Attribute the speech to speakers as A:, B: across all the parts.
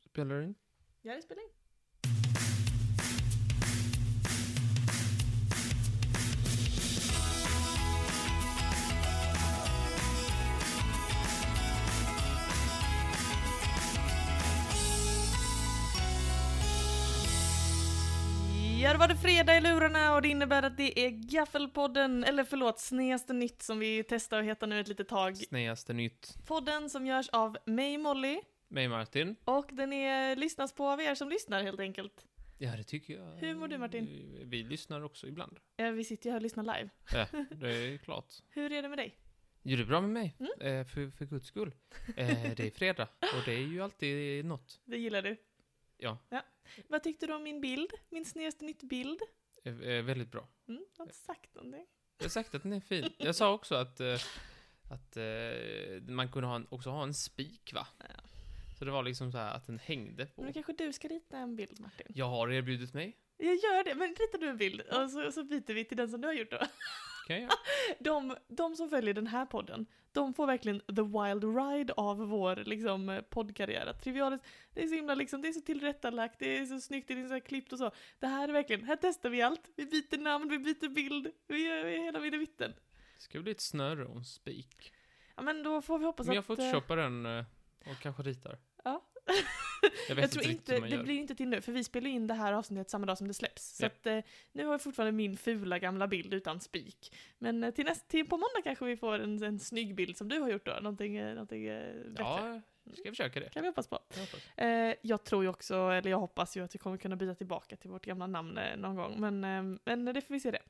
A: Spelar du in?
B: Ja, det spelar in. Ja, då var det fredag i lurarna och det innebär att det är Gaffelpodden, eller förlåt, Sneaste Nytt som vi testar och heter nu ett litet tag.
A: Sneaste nytt.
B: Podden som görs av mig, Molly,
A: Mig Martin.
B: och den är, lyssnas på av er som lyssnar helt enkelt.
A: Ja, det tycker jag. Eh,
B: Hur mår du, Martin?
A: Vi lyssnar också ibland.
B: Eh, Vi sitter ju här och lyssnar live.
A: Ja, det är klart.
B: Hur är det med dig?
A: Jo, det är bra med mig.
B: Mm.
A: Eh, för, för guds skull. Eh, det är fredag och det är ju alltid något.
B: Det gillar du.
A: Ja,
B: Vad tyckte du om min bild? Min Sneaste Nytt-bild?
A: eh, eh, väldigt bra.
B: Mm, jag har inte sagt någonting.
A: Jag har sagt att den är fin. Jag sa också att, eh, att eh, man kunde ha en, också ha en spik, va? Så det var liksom så här att den hängde på.
B: Men kanske du ska rita en bild, Martin?
A: Jag har erbjudit mig.
B: Jag gör det, men ritar du en bild och så, så byter vi till den som du har gjort då.
A: Kan jag göra.
B: De, de som följer den här podden, de får verkligen the wild ride av vår liksom, eh, poddkarriär. Att Trivialis, det är så himla liksom, det är så tillrättalagt, det är så snyggt, det är så här klippt och så. Det här är verkligen, här testar vi allt. Vi byter namn, vi byter bild, vi gör vi är hela videvitten.
A: Det ska bli ett snöre och en spik.
B: Ja men då får vi hoppas
A: Men jag
B: att... eh,
A: photoshoppar den eh, och kanske ritar.
B: Ja.
A: Jag vet
B: Jag tror
A: inte riktigt
B: inte,
A: hur man
B: det
A: gör.
B: blir inte till nu, för vi spelar in det här avsnittet samma dag som det släpps. Så
A: Ja.
B: att, eh, nu har jag fortfarande min fula gamla bild utan spik. Men eh, till, näst, till på måndag kanske vi får en, en snygg bild som du har gjort då, någonting, eh, någonting eh, bättre.
A: Ja, jag ska försöka det.
B: Kan vi hoppas på.
A: Jag hoppas.
B: Eh, jag tror ju också, eller jag hoppas ju att vi kommer kunna byta tillbaka till vårt gamla namn eh, någon gång, men, eh, men det får vi se det.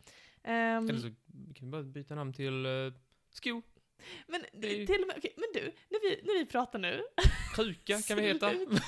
B: Ehm,
A: Eller så kan vi bara byta namn till eh, Sko,
B: men,
A: det är ju-
B: till och med, okej, men du, när vi, när vi pratar nu,
A: Kruka kan vi heta. Mm.
B: Sluta.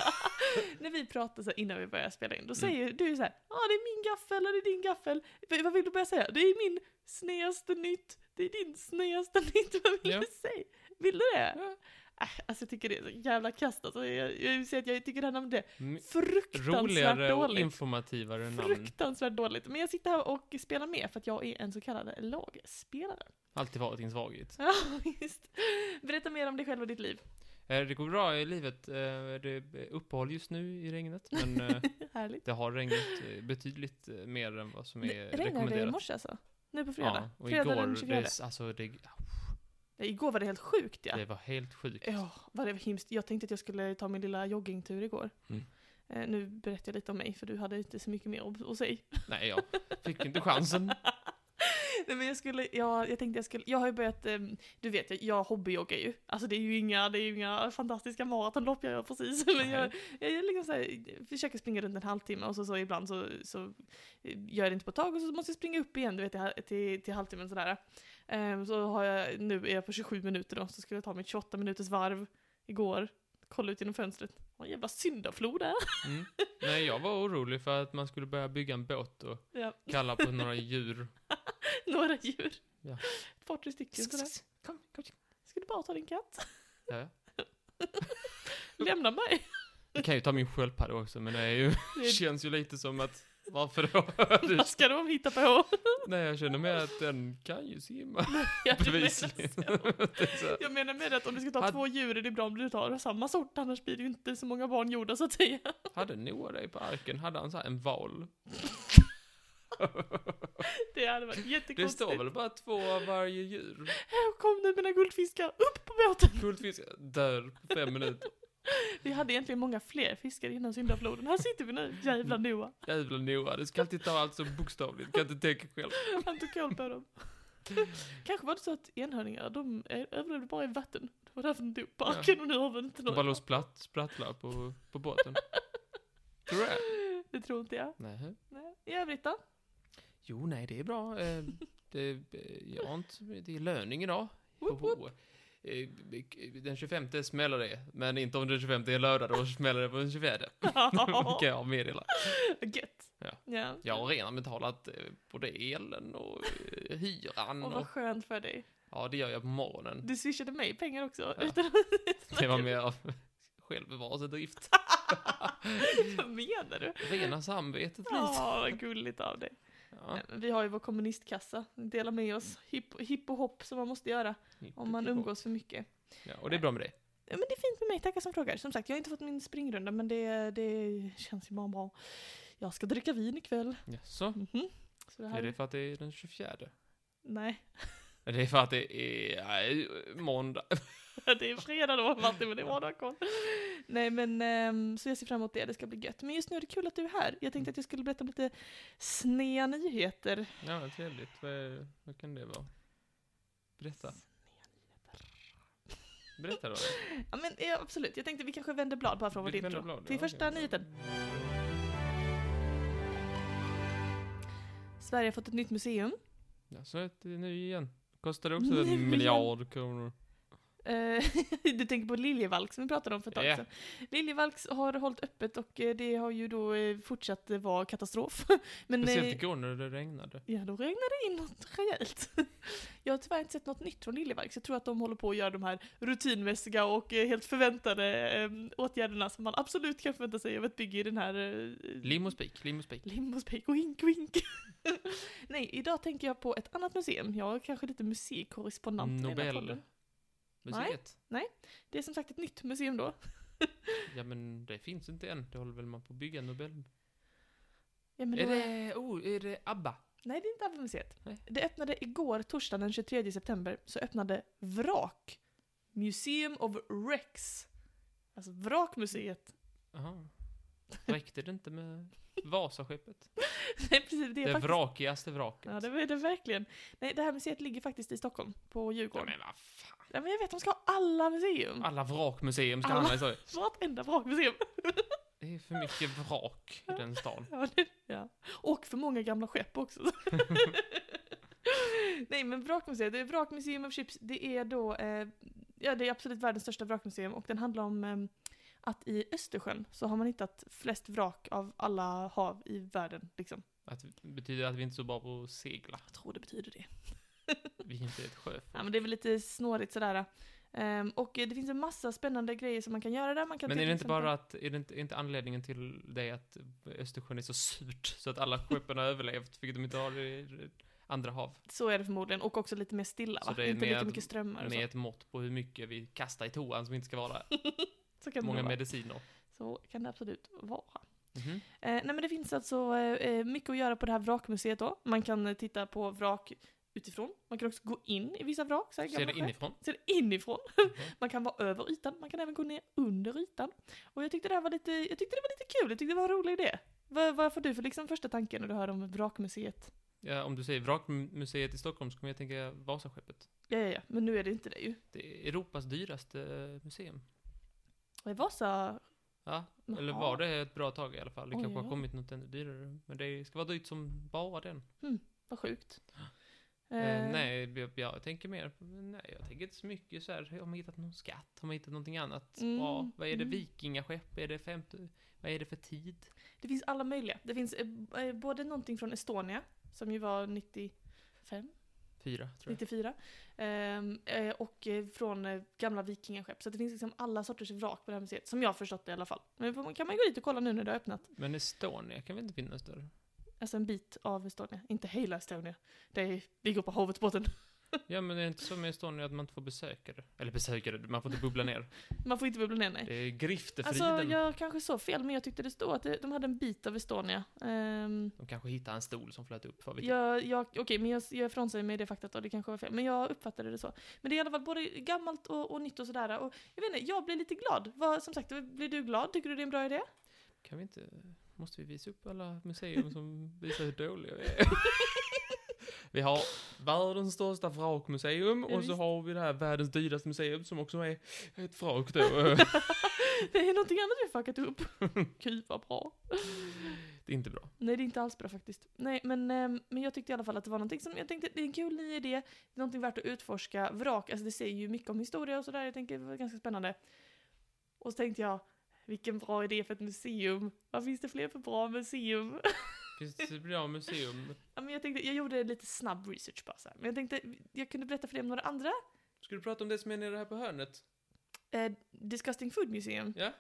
B: När vi pratar så här innan vi börjar spela in, då säger du så här, ja ah, det är min gaffel och det är din gaffel. V- Vad vill du börja säga? Det är min snedaste nytt, det är din snedaste nytt, vad vill
A: Ja.
B: du säga? Vill du det?
A: Ja.
B: Äh, alltså jag tycker det är så jävla kasst alltså, jag, jag vill säga att jag tycker det här namnet är
A: M-
B: fruktansvärt
A: Roligare och
B: dåligt.
A: informativare namn.
B: Fruktansvärt dåligt. Men jag sitter här och spelar med för att jag är en så kallad lagspelare.
A: Alltid varit din svaghet.
B: Ja, visst. Berätta mer om dig själv och ditt liv.
A: Eh, Det går bra i livet. Eh, Det är uppehåll just nu i regnet, men eh,
B: Härligt.
A: det har regnat eh, betydligt eh, mer än vad som är
B: Det regnade det i
A: rekommenderat.
B: morse alltså? Nu på fredag?
A: Ja, och
B: fredag
A: igår,
B: den 24.
A: det, alltså det,
B: Nej, igår var det helt sjukt ja.
A: det var helt sjukt.
B: Ja, var det hemskt. Jag tänkte att jag skulle ta min lilla joggingtur igår.
A: Mm.
B: Eh, nu berättar jag lite om mig, för du hade inte så mycket mer att- att säga.
A: Nej, jag fick inte chansen.
B: Nej men jag skulle, jag, jag tänkte jag skulle, jag har ju börjat, eh, du vet jag, jag hobbyjoggar ju. Alltså det är ju inga, det är ju inga fantastiska maratonlopp jag gör precis. Men jag, jag, är liksom så här, försöker springa runt en halvtimme och så, så ibland så, så eh, gör jag det inte på ett tag och så måste jag springa upp igen du vet till, till, till halvtimmen sådär. Eh, Så har jag, nu är jag på 27 minuter då, så skulle jag ta mitt 28 minuters varv igår. Kolla ut genom fönstret. Åh, jävla syndaflod där.
A: Mm. Nej, jag var orolig för att man skulle börja bygga en båt och
B: Ja,
A: kalla på några djur.
B: några djur.
A: Ja.
B: Ett par, tre stycken sådär.
A: Kom, kom.
B: Ska du bara ta din katt?
A: Ja, ja.
B: Lämna mig.
A: Jag kan ju ta min sköldpadda också, men det är ju,
B: Det är
A: känns ju lite som att varför då? Du-
B: Vad ska de hitta på?
A: Nej, jag känner mer att den kan ju simma.
B: Ja, du menar
A: Bevisligen.
B: så.
A: Det är så här,
B: Jag menar med det att om du ska ta
A: Hade-
B: två djur är det bra om du tar samma sort, annars blir det ju inte så många barn gjorda så att säga.
A: Hade Noah dig på arken, hade han så här en val?
B: Det hade varit
A: Det
B: jättekonstigt.
A: står väl bara två av varje djur?
B: Här kom nu mina guldfiskar, upp på båten!
A: Guldfisk dör på fem minuter.
B: Vi hade egentligen många fler fiskar innan syndafloden. Här sitter vi nu, jävla Noah.
A: Jävla Noah, du ska alltid ta allt så bokstavligt, kan inte tänka själv.
B: Han tog koll på dem. Kanske var det så att enhörningar, de eh, överlevde bara i vatten. Det var därför de dog på arken och nu har vi inte
A: De bara
B: några.
A: låg spratt, sprattlar på, på båten. Tror jag.
B: Det tror inte jag.
A: Nej.
B: Nej. I övrigt då?
A: Jo, nej, det är bra. Eh, det, eh, jag har inte, det är löning idag.
B: Woop,
A: Ho, ho. Eh, Den 25 smäller det, men inte om den 25 är lördag, då smäller det på den 24. kan jag meddela.
B: Gött.
A: Ja.
B: ja.
A: Jag har redan betalat eh, både elen och eh, hyran.
B: Och
A: Och,
B: vad skönt för dig.
A: ja, det gör jag på morgonen.
B: Du swishade mig pengar också.
A: Ja.
B: Utan
A: Det var mer av självbevarelsedrift.
B: vad menar du?
A: Rena samvetet lite.
B: Ja, vad gulligt av dig.
A: Ja.
B: Nej, men Vi har ju vår kommunistkassa. Dela med oss. Mm. Hipp, hipp och hopp som man måste göra om man umgås för mycket.
A: Ja, och det är bra med det.
B: Ja, men det är fint med mig, tackar som frågar. Som sagt, jag har inte fått min springrunda men det, det känns ju bara bra. Jag ska dricka vin ikväll.
A: Jaså?
B: Mhm. Så det här...
A: Är det för att det är den 24?
B: Nej,
A: Är det för att det är nej, måndag?
B: det är fredag då Martin, men det är vardagskväll. Nej men, ehm, så jag ser fram emot det, det ska bli gött. Men just nu är det kul att du är här. Jag tänkte att jag skulle berätta om lite snea nyheter.
A: Ja, vad trevligt. Vad, är, vad kan det vara? Berätta. Berätta då.
B: Ja men ja, absolut, jag tänkte vi kanske vänder blad bara från vårt
A: Vi vänder
B: intro.
A: blad,
B: Till
A: ja,
B: första
A: okej.
B: nyheten. Sverige har fått ett nytt museum.
A: Ja, så ett nu igen. Kostar det också
B: Nu
A: en
B: igen.
A: miljard kronor?
B: Eh, du tänker på Liljevalchs som vi pratade om för ett tag
A: Ja.
B: sedan. Liljevalchs har hållit öppet och eh, det har ju då eh, fortsatt eh, vara katastrof. Men
A: Speciellt
B: eh,
A: igår när det regnade.
B: ja, då regnar det in något rejält. Jag har tyvärr inte sett något nytt från Liljevalchs. Jag tror att de håller på att göra de här rutinmässiga och eh, helt förväntade eh, åtgärderna som man absolut kan förvänta sig av ett bygge i den här eh,
A: Lim och spik, lim och spik.
B: Limosbake, wink wink. Nej, idag tänker jag på ett annat museum. Jag är kanske lite musikkorrespondent i den här
A: Nobel.
B: podden. Nej.
A: Museet?
B: Det är som sagt ett nytt museum då.
A: Ja men det finns inte än. Det håller väl man på att bygga Nobel.
B: Ja, men
A: är
B: då
A: det, oh, är det ABBA?
B: Nej, det är inte Abbemuseet.
A: Nej.
B: Det öppnade igår, torsdagen den 23 september, så öppnade Vrak. Museum of Rex. Alltså Vrakmuseet.
A: Jaha. Räckte det inte med Vasaskeppet?
B: Nej, precis. Det
A: Det,
B: är faktiskt...
A: vrakigaste vraket.
B: Ja, det är det verkligen. Nej, det här museet ligger faktiskt i Stockholm, på
A: Ja,
B: Djurgården.
A: men vad fan.
B: Ja, men jag vet, de ska ha alla museum.
A: Alla vrakmuseum ska
B: Alla-
A: hamna i Sverige.
B: Vartenda Vrakmuseum.
A: Det är för mycket vrak i den stan.
B: Ja, det, ja. Och för många gamla skepp också. Nej men Vrakmuseet, det är Vrakmuseum of Ships, det är då, eh, ja det är absolut världens största vrakmuseum och den handlar om eh, att i Östersjön så har man hittat flest vrak av alla hav i världen liksom.
A: Att, betyder det att vi inte är så bra på att segla?
B: Jag tror det betyder det.
A: Vi är inte ett
B: Ja
A: sjöfolk.
B: men det är väl lite snårigt sådär. Eh, och eh, det finns en massa spännande grejer som man kan göra där. Man kan
A: Men
B: till
A: är det inte
B: exempel-
A: bara att, är det inte, är inte anledningen till det att Östersjön är så surt så att alla skeppen har överlevt, vilket de inte har i andra hav?
B: Så är det förmodligen, och också lite mer stilla
A: Så
B: va?
A: det är
B: Inte
A: mer
B: lika
A: att-
B: mycket strömmar och
A: Med ett mått på hur mycket vi kastar i toan som inte ska vara där.
B: så. så kan det
A: Många
B: nog vara.
A: mediciner.
B: Så kan det absolut vara.
A: Mhm.
B: Eh, nej men det finns alltså eh, eh, mycket att göra på det här vrakmuseet då. Man kan eh, titta på vrak utifrån. Man kan också gå in i vissa vrak. Så här,
A: Ser det
B: gamla skepp.
A: inifrån?
B: Ser det inifrån.
A: Mhm.
B: Man kan vara över ytan. Man kan även gå ner under ytan. Och jag tyckte det här var lite, jag tyckte det var lite kul. Jag tyckte det var en rolig idé. Vad, vad får du för liksom första tanken när du hör om vrakmuseet?
A: Ja, om du säger Vrakmuseet i Stockholm så kommer jag tänka Vasaskeppet.
B: Ja, ja, ja, men nu är det inte det ju.
A: Det är Europas dyraste eh, museum.
B: Och i Vasa...
A: Ja, eller
B: Jaha.
A: var det ett bra tag i alla fall. Det
B: Oj,
A: kanske
B: oj,
A: har
B: oj.
A: kommit något ännu dyrare. Men det ska vara dyrt som bara den.
B: Vad sjukt.
A: Eh,
B: Eh,
A: nej, jag, jag tänker mer på- Nej, jag tänker inte så mycket så här. Har man hittat någon skatt? Har man hittat någonting annat?
B: Mm,
A: Bra. Vad är det?
B: mm.
A: Vikingaskepp? Är det femte? Vad är det för tid?
B: Det finns alla möjliga. Det finns eh, b- eh, både någonting från Estonia, som ju var 95,
A: Fyra, tror jag.
B: 94. Ehm, eh, och eh, från eh, gamla vikingaskepp. Så det finns liksom alla sorters vrak på det här museet. Som jag har förstått det i alla fall. Men får man- kan man ju gå dit och kolla nu när det har öppnat.
A: Men Estonia kan väl inte finnas där?
B: Alltså en bit av Estonia. Inte hela Estonia. Det ligger på havets botten.
A: Ja, men är det inte så med Estonia att man inte får besöka det? Eller besöka det, man får inte bubbla ner.
B: Man får inte bubbla ner, nej.
A: Det är
B: Alltså
A: griftefriden.
B: jag kanske såg fel, men jag tyckte det stod att det- de hade en bit av Estonia. Ehm,
A: De kanske hittar en stol som flöt upp, vad vet jag.
B: jag, jag, okej, men jag, jag frånsäger mig det faktat och det kanske var fel. Men jag uppfattade det så. Men det är i alla fall både gammalt och, och nytt och sådär. Och jag vet inte, jag blir lite glad. Vad, som sagt, blir du glad? Tycker du det är en bra idé?
A: Kan vi inte... Måste vi visa upp alla museer som visar hur dåliga vi är? Vi har världens största vrakmuseum
B: Ja,
A: och så
B: visst.
A: har vi det här världens dyraste museum som också är ett vrak då.
B: Det är någonting annat vi fuckat upp. Gud vad bra.
A: Det är inte bra.
B: Nej det är inte alls bra faktiskt. Nej men, ehm, men jag tyckte i alla fall att det var någonting som jag tänkte, det är en kul ny idé, det är någonting värt att utforska. Vrak, alltså det säger ju mycket om historia och sådär, jag tänker det var ganska spännande. Och så tänkte jag, vilken bra idé för ett museum. Vad finns det fler för bra museum?
A: Finns det ett bra museum?
B: ja, men jag, tänkte, jag gjorde lite snabb research bara så här. men jag tänkte jag kunde berätta för dig om några andra.
A: Ska du prata om det som är nere här på hörnet?
B: Eh, Disgusting Food Museum.
A: Ja.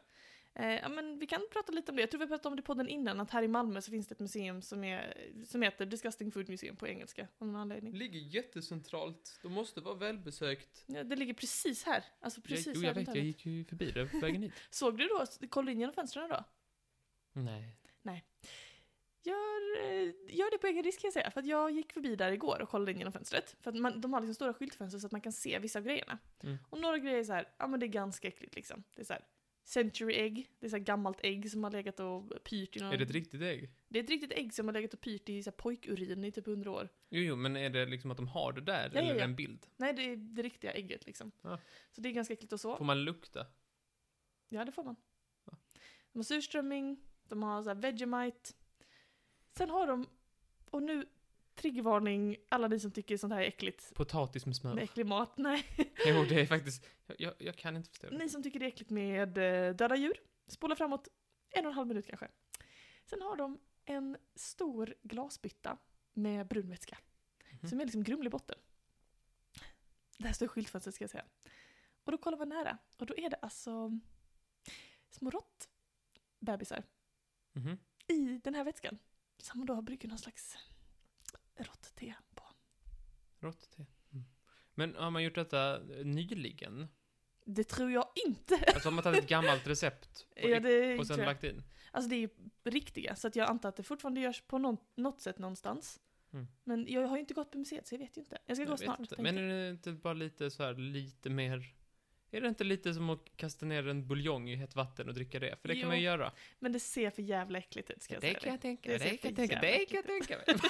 B: Eh, ja, men vi kan prata lite om det. Jag tror vi pratade om det i podden innan, att här i Malmö så finns det ett museum som, är, som heter Disgusting Food Museum på engelska, av någon anledning.
A: Ligger jättecentralt. De måste vara välbesökt.
B: Ja, det ligger precis här. Alltså precis
A: jag, jo,
B: här
A: jag vet.
B: runt
A: Jag
B: hörnet.
A: gick ju förbi det på vägen hit.
B: Såg du då, kollade du in genom fönstren då?
A: Nej.
B: Gör, eh, gör det på egen risk kan jag säga, för att jag gick förbi där igår och kollade in genom fönstret. För att man, de har liksom stora skyltfönster så att man kan se vissa av grejerna.
A: Mm.
B: Och några grejer är så här, ja men det är ganska äckligt liksom. Det är så här, century egg, det är så här gammalt ägg som har legat och pyrt i någon...
A: Är det ett riktigt ägg?
B: Det är ett riktigt ägg som har legat och pyrt i så här pojkurin i typ 100 år.
A: Jo, jo, men är det liksom att de har det där?
B: Ja,
A: eller
B: ja,
A: är det
B: ja.
A: en bild?
B: Nej, det är det riktiga ägget liksom.
A: Ja.
B: Så det är ganska äckligt och så.
A: Får man lukta?
B: Ja, det får man.
A: Ja.
B: De har surströmming, de har så här Vegemite. Sen har de, och nu triggervarning, alla ni som tycker sånt här är äckligt.
A: Potatis med smör?
B: Med äcklig mat, nej.
A: Jo, det är faktiskt... Jag, jag, jag kan inte förstå det.
B: Ni som tycker det är äckligt med eh, döda djur, spola framåt en och en halv minut kanske. Sen har de en stor glasbytta med brun vätska.
A: Mhm.
B: Som är liksom grumlig botten. Där står skyltfönstret ska jag säga. Och då kollar man nära och då är det alltså små råttbebisar
A: Mhm.
B: i den här vätskan. Som då har bryggt någon slags rått-te på.
A: Råttte. Mm. Men har man gjort detta eh, nyligen?
B: Det tror jag inte.
A: Alltså har man tagit ett gammalt recept och,
B: Ja, det
A: och sen
B: tror jag.
A: lagt in?
B: Alltså det är ju riktiga, så att jag antar att det fortfarande görs på någon, något sätt någonstans.
A: Mm.
B: Men jag har ju inte gått på museet så jag vet ju inte. Jag ska gå
A: Jag vet
B: snart.
A: inte.
B: tänkte
A: Men
B: jag.
A: är det inte bara lite så här, lite mer... Är det inte lite som att kasta ner en buljong i hett vatten och dricka det? För det
B: Jo,
A: kan man ju göra.
B: Men det ser för jävla äckligt ut ska jag
A: det
B: säga
A: kan jag tänka
B: Det
A: mig.
B: ser
A: Det kan jag tänka
B: för
A: mig. Det kan jag
B: jävligt
A: tänka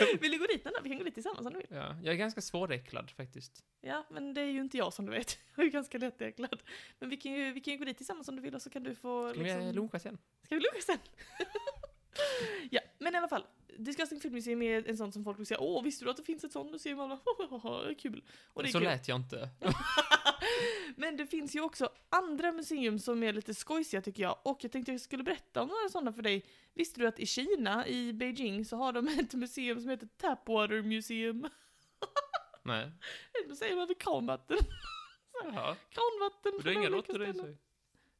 A: mig.
B: dig. Vill du gå dit någon dag? Vi kan gå dit tillsammans om du vill.
A: Ja, jag är ganska svåräcklad faktiskt.
B: Ja, men det är ju inte jag som du vet. Jag är ganska lättäcklad. Men vi kan ju, vi kan ju gå dit tillsammans om du vill och så kan du få... liksom-
A: Ska vi luncha sen?
B: Ska vi luncha sen? ja, men i alla fall. Disgusting Food Museum är en sån som folk vill säga Åh, visste du att det finns ett sånt museum? Alla, "Hahaha, kul. Och det är
A: Så
B: kul.
A: lät jag inte.
B: Men det finns ju också andra museum som är lite skojsiga tycker jag. Och jag tänkte jag skulle berätta om några sådana för dig. Visste du att i Kina, i Beijing, så har de ett museum som heter Tapwater Museum.
A: Nej.
B: Ett museum över kranvatten.
A: Jaha.
B: Kranvatten
A: Det är inga
B: olika
A: råttor i
B: ställen.
A: sig.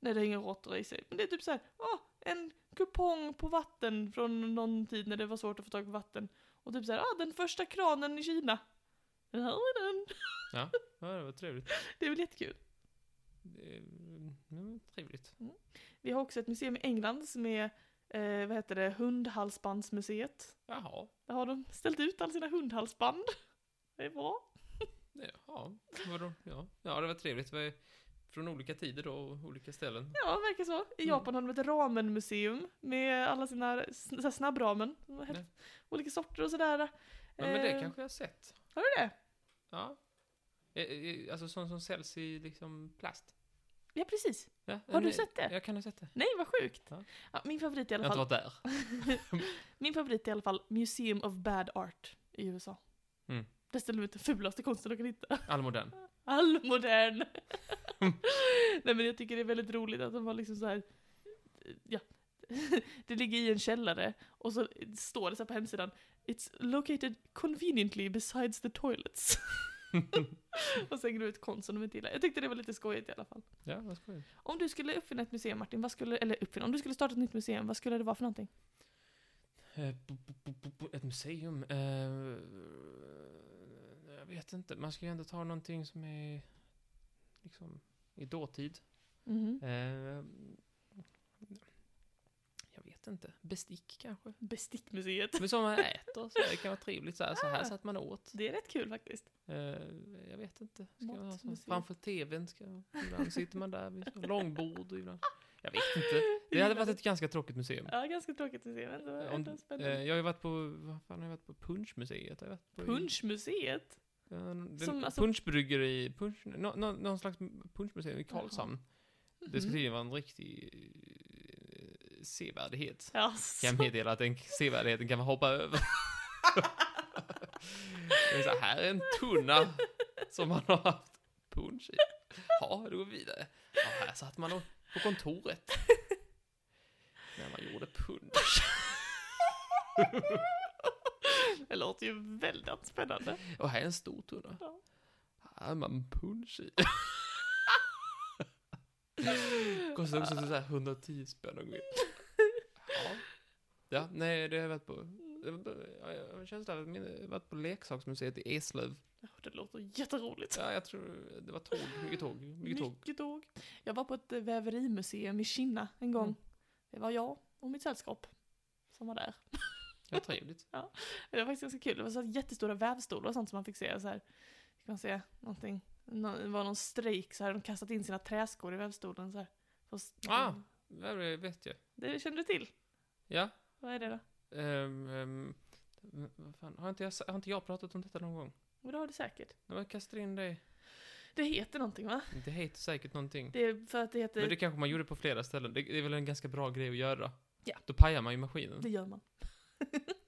B: Nej, det är inga råttor i sig. Men det är typ så här, åh, en kupong på vatten från någon tid när det var svårt att få tag på vatten. Och typ så här, ah, den första kranen i Kina. Den här är den.
A: Ja, det var trevligt.
B: Det är väl jättekul.
A: Det är- mm, trevligt.
B: Vi har också ett museum i England som är, eh, vad heter det, hundhalsbandsmuseet.
A: Jaha.
B: Där har de ställt ut alla sina hundhalsband. Det är bra.
A: Jaha. Vadå? Ja. ja, det var trevligt. Det var från olika tider då och olika ställen.
B: Ja, det verkar så. I
A: Mm.
B: Japan har de ett ramenmuseum med alla sina s- så här snabbramen. De har helt-
A: Nej.
B: Olika sorter och sådär.
A: Ja, men det
B: Eh,
A: kanske jag har sett.
B: Har du det?
A: Ja. Eh, eh, Alltså sånt som säljs i liksom plast.
B: Ja, precis.
A: Ja,
B: Har du
A: nej,
B: sett det?
A: Jag kan ha sett det.
B: Nej, vad sjukt.
A: Ja.
B: Ja, min favorit i
A: Jag
B: alla
A: har inte
B: fall.
A: varit där.
B: Min favorit är i alla fall Museum of Bad Art i USA.
A: Mm.
B: Där ställer de ut den fulaste konsten de kan hitta.
A: Allmodern.
B: All modern! Nej men jag tycker det är väldigt roligt att de har liksom så här. ja. det ligger i en källare och så står det så här på hemsidan It's located conveniently besides the toilets. och sen går det ut konst som de inte gillar. Jag tyckte det var lite skojigt i alla fall.
A: Ja, vad skoj.
B: Om du skulle uppfinna ett museum Martin, vad skulle, eller uppfinna, om du skulle starta ett nytt museum, vad skulle det vara för någonting?
A: Eh, bo- bo- bo- bo- bo- Ett museum. eh, Jag vet inte. Man ska ju ändå ta någonting som är liksom i dåtid.
B: Mhm.
A: Eh, Jag vet inte. Bestick kanske?
B: Bestickmuseet.
A: Men som man äter. Så det kan vara trevligt. Så här, så
B: Ah.
A: här satt man åt.
B: Det är rätt kul faktiskt.
A: Eh, Jag vet inte. Ska man ha så?
B: Matmuseum.
A: Framför tvn ska Ibland sitter man där vid så långbord. och Ibland. Jag vet inte. Det hade varit ett ganska tråkigt museum.
B: Ja, ganska tråkigt att se, men det var
A: Eh, om-
B: ändå
A: eh,
B: spännande.
A: Jag har ju varit på, vad fan har jag varit på? Punschmuseet har jag varit på. i-
B: Punschmuseet?
A: Ja, den,
B: Som, alltså-
A: punschbryggeri, punsch, nå nå- någon slags punschmuseum i Karlshamn. Det ska
B: Mhm.
A: tydligen vara en riktig eh, sevärdhet.
B: Ja,
A: Kan jag meddela att den sevärdheten kan man hoppa över. Det är så här är en tunna som man har haft punsch i. Ja, då går vi vidare. Ja, här satt man och- på kontoret. När man gjorde punsch.
B: det låter ju väldigt spännande.
A: Och här är en stor tunna.
B: Ja.
A: Här är man punsch i. Kostar också så här 110 spänn att gå in. Ja. ja, nej, det har jag varit på. Ja, Jag har en känsla av att min- jag har varit på leksaksmuseet i Eslöv.
B: Det låter jätteroligt.
A: Ja, jag tror det var tåg, mycket tåg, mycket tåg.
B: Mycket tåg. Jag var på ett eh, väverimuseum i Kinna en gång.
A: Mm.
B: Det var jag och mitt sällskap som var där.
A: Ja, trevligt.
B: Det var faktiskt ganska kul. Det var så här jättestora vävstolar och sånt som man fick se. Så här, fick man se någonting. Nå- Det var någon strejk så hade de kastat in sina träskor i vävstolen så här. Fast-
A: Ah! Det vet jag.
B: Det kände du till?
A: Ja.
B: Vad är det då?
A: ehm, ehm, vad fan, har, inte jag, sa- har inte jag pratat om detta någon gång?
B: Men det har du säkert.
A: När man kastar in dig.
B: Det heter någonting va?
A: Det heter säkert någonting.
B: Det är för att det heter...
A: Men det kanske man gjorde på flera ställen. Det, det är väl en ganska bra grej att göra.
B: Ja.
A: Då pajar man ju maskinen.
B: det gör man.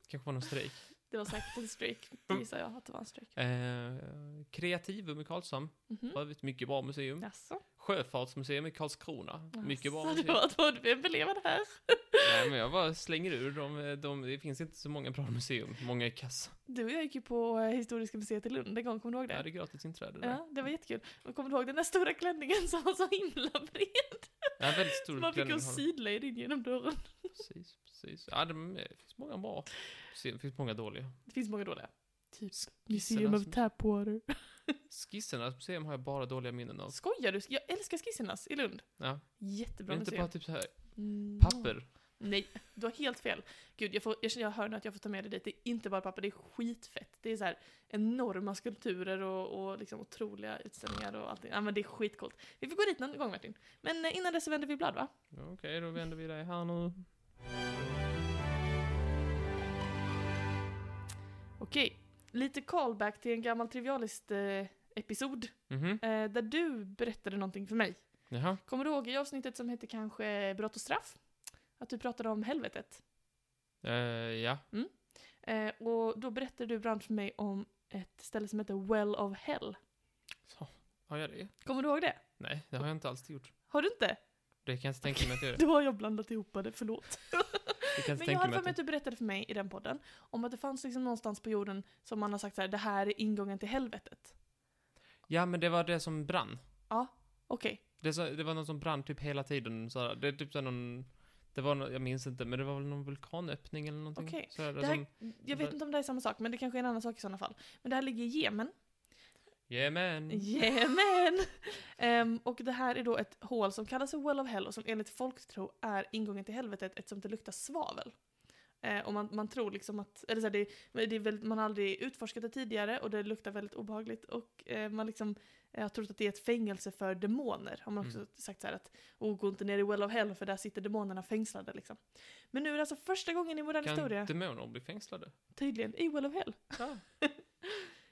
A: kanske var någon strejk.
B: Det var säkert en strejk.
A: Mm.
B: Det gissar jag att det var en strejk.
A: Eh, Kreativum i Karlshamn. För
B: Mhm.
A: övrigt mycket bra museum.
B: Jaså?
A: Sjöfartsmuseum i Karlskrona. Mycket bra
B: Så det
A: museum.
B: var att både vi belevar det här.
A: Nej, men jag bara slänger ur dem. eh, De, det finns inte så många bra museum. Många är kassa.
B: Du och jag gick ju på eh, Historiska museet i Lund en gång, kommer du ihåg
A: Det
B: det?
A: är gratis inträde där.
B: Ja, det var jättekul. Och kommer du ihåg den där stora klänningen som var så himla bred?
A: Ja, väldigt stor
B: Man fick
A: klänning
B: gå
A: har de.
B: sidled in genom dörren.
A: Precis, precis. Ja, de, eh, det finns många bra. Det finns många dåliga.
B: Det finns många dåliga. Typ Museum
A: Skissernas,
B: of Tapwater.
A: skissernas museum har jag bara dåliga minnen av.
B: Skojar du? Jag älskar Skissernas i Lund.
A: Ja. Det
B: Jättebra
A: är inte bara
B: museum.
A: typ så här
B: Mm.
A: papper.
B: Nej, du har helt fel. Gud, jag, får, jag, känner- jag hör nu att jag får ta med det dit. Det är inte bara papper, det är skitfett. Det är så här enorma skulpturer och, och liksom otroliga utställningar och allting. Ja, men det är skitcoolt. Vi får gå dit någon gång, Martin. Men eh, innan dess så vänder vi blad, va?
A: Ja, Okej, då vänder vi dig här nu.
B: Okej, lite callback till en gammal Trivialist-episod.
A: Mhm.
B: Eh, där du berättade någonting för mig.
A: Jaha.
B: Kommer du ihåg i avsnittet som hette kanske Brott och straff? Att du pratade om helvetet.
A: Eh, ja.
B: Eh, och då berättade du bland annat för mig om ett ställe som heter Well of Hell.
A: Har jag det?
B: Kommer du ihåg det?
A: Nej, det har jag inte alls gjort.
B: Har du inte?
A: Det kan jag inte tänka mig att jag gör.
B: Då har jag blandat ihop det, förlåt.
A: Det kan jag inte
B: Men jag
A: tänka
B: hade
A: mig
B: för
A: att
B: mig att
A: jag...
B: du berättade för mig i den podden om att det fanns liksom någonstans på jorden som man har sagt så här, det här är ingången till helvetet.
A: Ja, men det var det som brann.
B: Okej,
A: Det, så, det var någon som brann typ hela tiden. Så här. Det är typ så här någon... Det var nå- jag minns inte, men det var väl någon vulkanöppning eller någonting.
B: Okej.
A: Så här,
B: det här,
A: som...
B: jag vet inte om det här är samma sak, men det kanske är en annan sak i sådana fall. Men det här ligger i Jemen.
A: Yeah, man.
B: Jemen! Ehm, och det här är då ett hål som kallas för Well of Hell och som enligt folktro är ingången till helvetet eftersom det luktar svavel. Eh, och man, man tror liksom att, eller så här, det, men det är väldigt, man har aldrig utforskat det tidigare och det luktar väldigt obehagligt och eh, man liksom eh, har trott att det är ett fängelse för demoner. Har man också
A: Mm.
B: sagt så här att, oh, gå inte ner i Well of Hell för där sitter demonerna fängslade liksom. Men nu är det alltså första gången i modern historia,
A: Kan demoner bli fängslade?
B: tydligen, i Well of Hell.
A: Ja.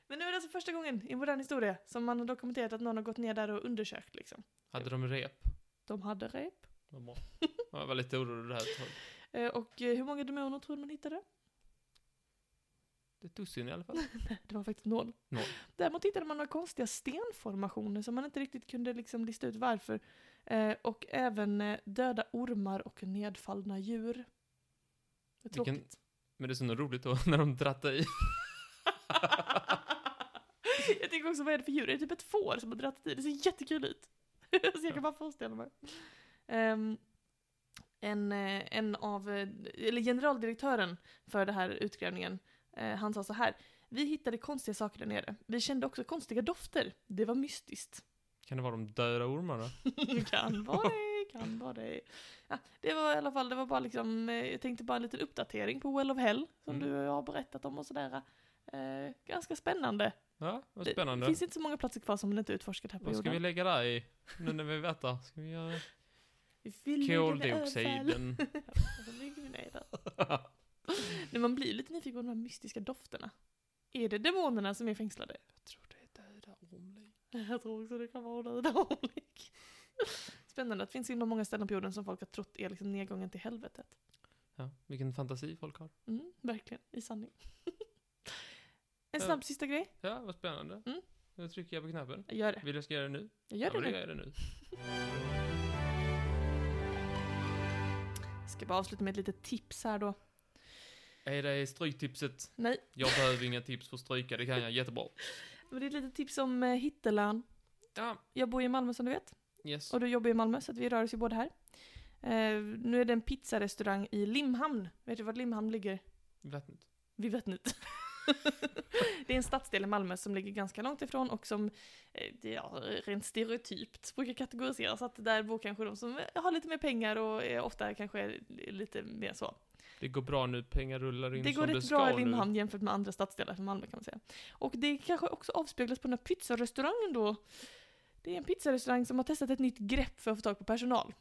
B: Men nu är det alltså första gången i modern historia som man har dokumenterat att någon har gått ner där och undersökt liksom.
A: Hade de rep?
B: De hade rep.
A: Vad bra. Jag var lite orolig det här ett tag.
B: Eh, Och eh, hur många demoner tror du man hittade?
A: Det är ett dussin i alla fall.
B: Det var faktiskt noll.
A: Noll.
B: Däremot hittade man några konstiga stenformationer som man inte riktigt kunde liksom lista ut varför. Eh, Och även eh, döda ormar och nedfallna djur. Det är
A: Vilken-
B: tråkigt.
A: Men det är så nog roligt då när de drattade i.
B: jag tänker också, vad är det för djur? Är det typ ett får som har dragit i? Det ser jättekul ut. så jag kan bara föreställa mig. Ehm, en, eh, en av, eh, eller generaldirektören för den här utgrävningen, eh, han sa så här. Vi hittade konstiga saker där nere. Vi kände också konstiga dofter. Det var mystiskt.
A: Kan det vara de döda ormarna?
B: kan vara det, kan vara det. Ja, det var i alla fall, det var bara liksom, eh, jag tänkte bara en liten uppdatering på Well of Hell, som
A: Mm.
B: du har berättat om och sådär. Eh, ganska spännande.
A: Ja, vad
B: Det
A: spännande.
B: finns inte så många platser kvar som man inte utforskat här på
A: Vad ska vi
B: jorden.
A: lägga där i? Nu när vi vet där. Ska vi göra
B: Vi vill lägga överallt.
A: koldioxiden?
B: Så ligger vi ner där. Men man blir ju lite nyfiken på de här mystiska dofterna. Är det demonerna som är fängslade?
A: Jag tror det är döda ormar.
B: Jag tror också det kan vara döda omlik. Spännande att det finns så himla många ställen på jorden som folk har trott är liksom nedgången till helvetet.
A: Ja, vilken fantasi folk har.
B: Mm, verkligen, i sanning. En
A: Ja.
B: snabb sista grej.
A: Ja, vad spännande.
B: Mm.
A: Nu trycker jag på knappen.
B: Jag gör det.
A: Vill jag ska göra det nu?
B: Jag gör
A: ja,
B: det
A: men då
B: nu.
A: gör jag det nu.
B: Ska bara avsluta med ett litet tips här då.
A: Är det stryktipset?
B: Nej,
A: Jag behöver inga tips för att stryka, det kan jag jättebra.
B: men det är ett litet tips om eh, Hitteland.
A: Ja,
B: Jag bor i Malmö som du vet.
A: Yes.
B: Och du jobbar i Malmö, så att vi rör oss ju båda här. Eh, nu är det en pizzarestaurang i Limhamn. Vet du var Limhamn ligger?
A: Vattnet.
B: Vid vattnet. det är en stadsdel i Malmö som ligger ganska långt ifrån och som eh, det, ja, rent stereotypt brukar kategoriseras att där bor kanske de som eh, har lite mer pengar och eh, ofta kanske är lite mer så.
A: Det går bra nu, pengar rullar in
B: Det går
A: som
B: rätt
A: ska
B: bra i
A: nu.
B: Limhamn jämfört med andra stadsdelar från Malmö kan man säga. Och det kanske också avspeglas på den här pizzarestaurangen då. Det är en pizzarestaurang som har testat ett nytt grepp för att få tag på personal.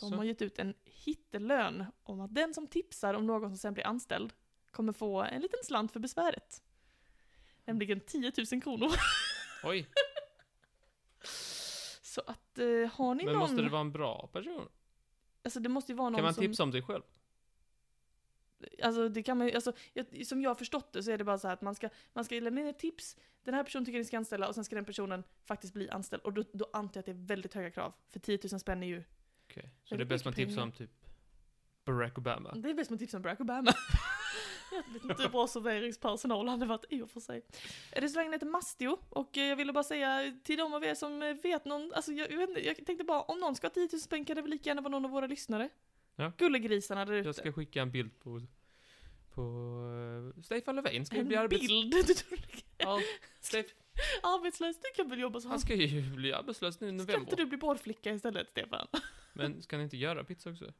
B: De
A: Så.
B: har gett ut en hittelön om att den som tipsar om någon som sen blir anställd kommer få en liten slant för besväret. Nämligen 10 000 kronor.
A: Oj,
B: Så att eh, har ni
A: men
B: någon...
A: måste det vara en bra person?
B: Alltså det måste ju vara någon
A: Kan man
B: som...
A: tipsa om sig själv?
B: Alltså det kan man ju, alltså, jag, som jag har förstått det så är det bara så här att man ska, man ska lämna in ett tips, den här personen tycker ni ska anställa och sen ska den personen faktiskt bli anställd. Och då, då antar jag att det är väldigt höga krav, för 10 000 spänn är ju...
A: Okej, så
B: Väldigt
A: det är bäst man
B: mycket
A: tipsar om typ Barack Obama.
B: Det är bäst man tipsar om Barack Obama. jag vet inte hur typ bra serveringspersonal hade varit i och för sig. Restaurangen heter Mastio och eh, jag ville bara säga till de av er som eh, vet någon, alltså jag, jag, vet inte, jag tänkte bara om någon ska ha 10 000 spänn kan det väl lika gärna vara någon av våra lyssnare.
A: Ja.
B: Gullegrisarna där ute.
A: Jag ska skicka en bild på, på eh, Stefan Löfven. Ska ju
B: En
A: bli arbets...
B: bild! Du tror-
A: Ja, Stef...
B: Arbetslös, du kan väl jobba som
A: Han ska ju bli arbetslös nu i
B: Ska inte
A: november.
B: du bli badflicka istället, Stefan?
A: Men ska han inte göra pizza också?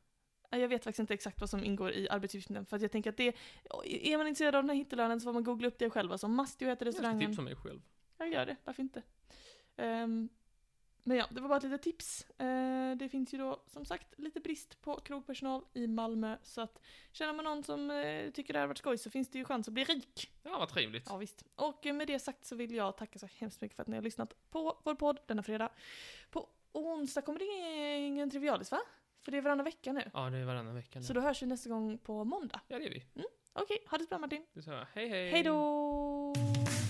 B: Nej, Jag vet faktiskt inte exakt vad som ingår i arbetsuppgiften, för att jag tänker att det... Är man intresserad av den här hittelönen så får man googla upp det själv. Alltså, Mastio heter
A: Jag ska
B: restaurangen.
A: tipsa mig själv.
B: Jag gör det, varför inte? Ehm, men ja, det var bara ett litet tips. Eh, det finns ju då som sagt lite brist på krogpersonal i Malmö, så att känner man någon som eh, tycker det här har varit skoj så finns det ju chans att bli rik.
A: Ja, vad trevligt.
B: Ja, visst. Och eh, med det sagt så vill jag tacka så hemskt mycket för att ni har lyssnat på vår podd denna fredag. På onsdag kommer det ingen Trivialis, va? För det är varannan vecka nu.
A: Ja, det är varannan vecka nu.
B: Så då hörs vi nästa gång på måndag.
A: Ja, det är vi.
B: Okej, ha det så bra Martin.
A: Det sa jag. Hej, hej.
B: Hej då!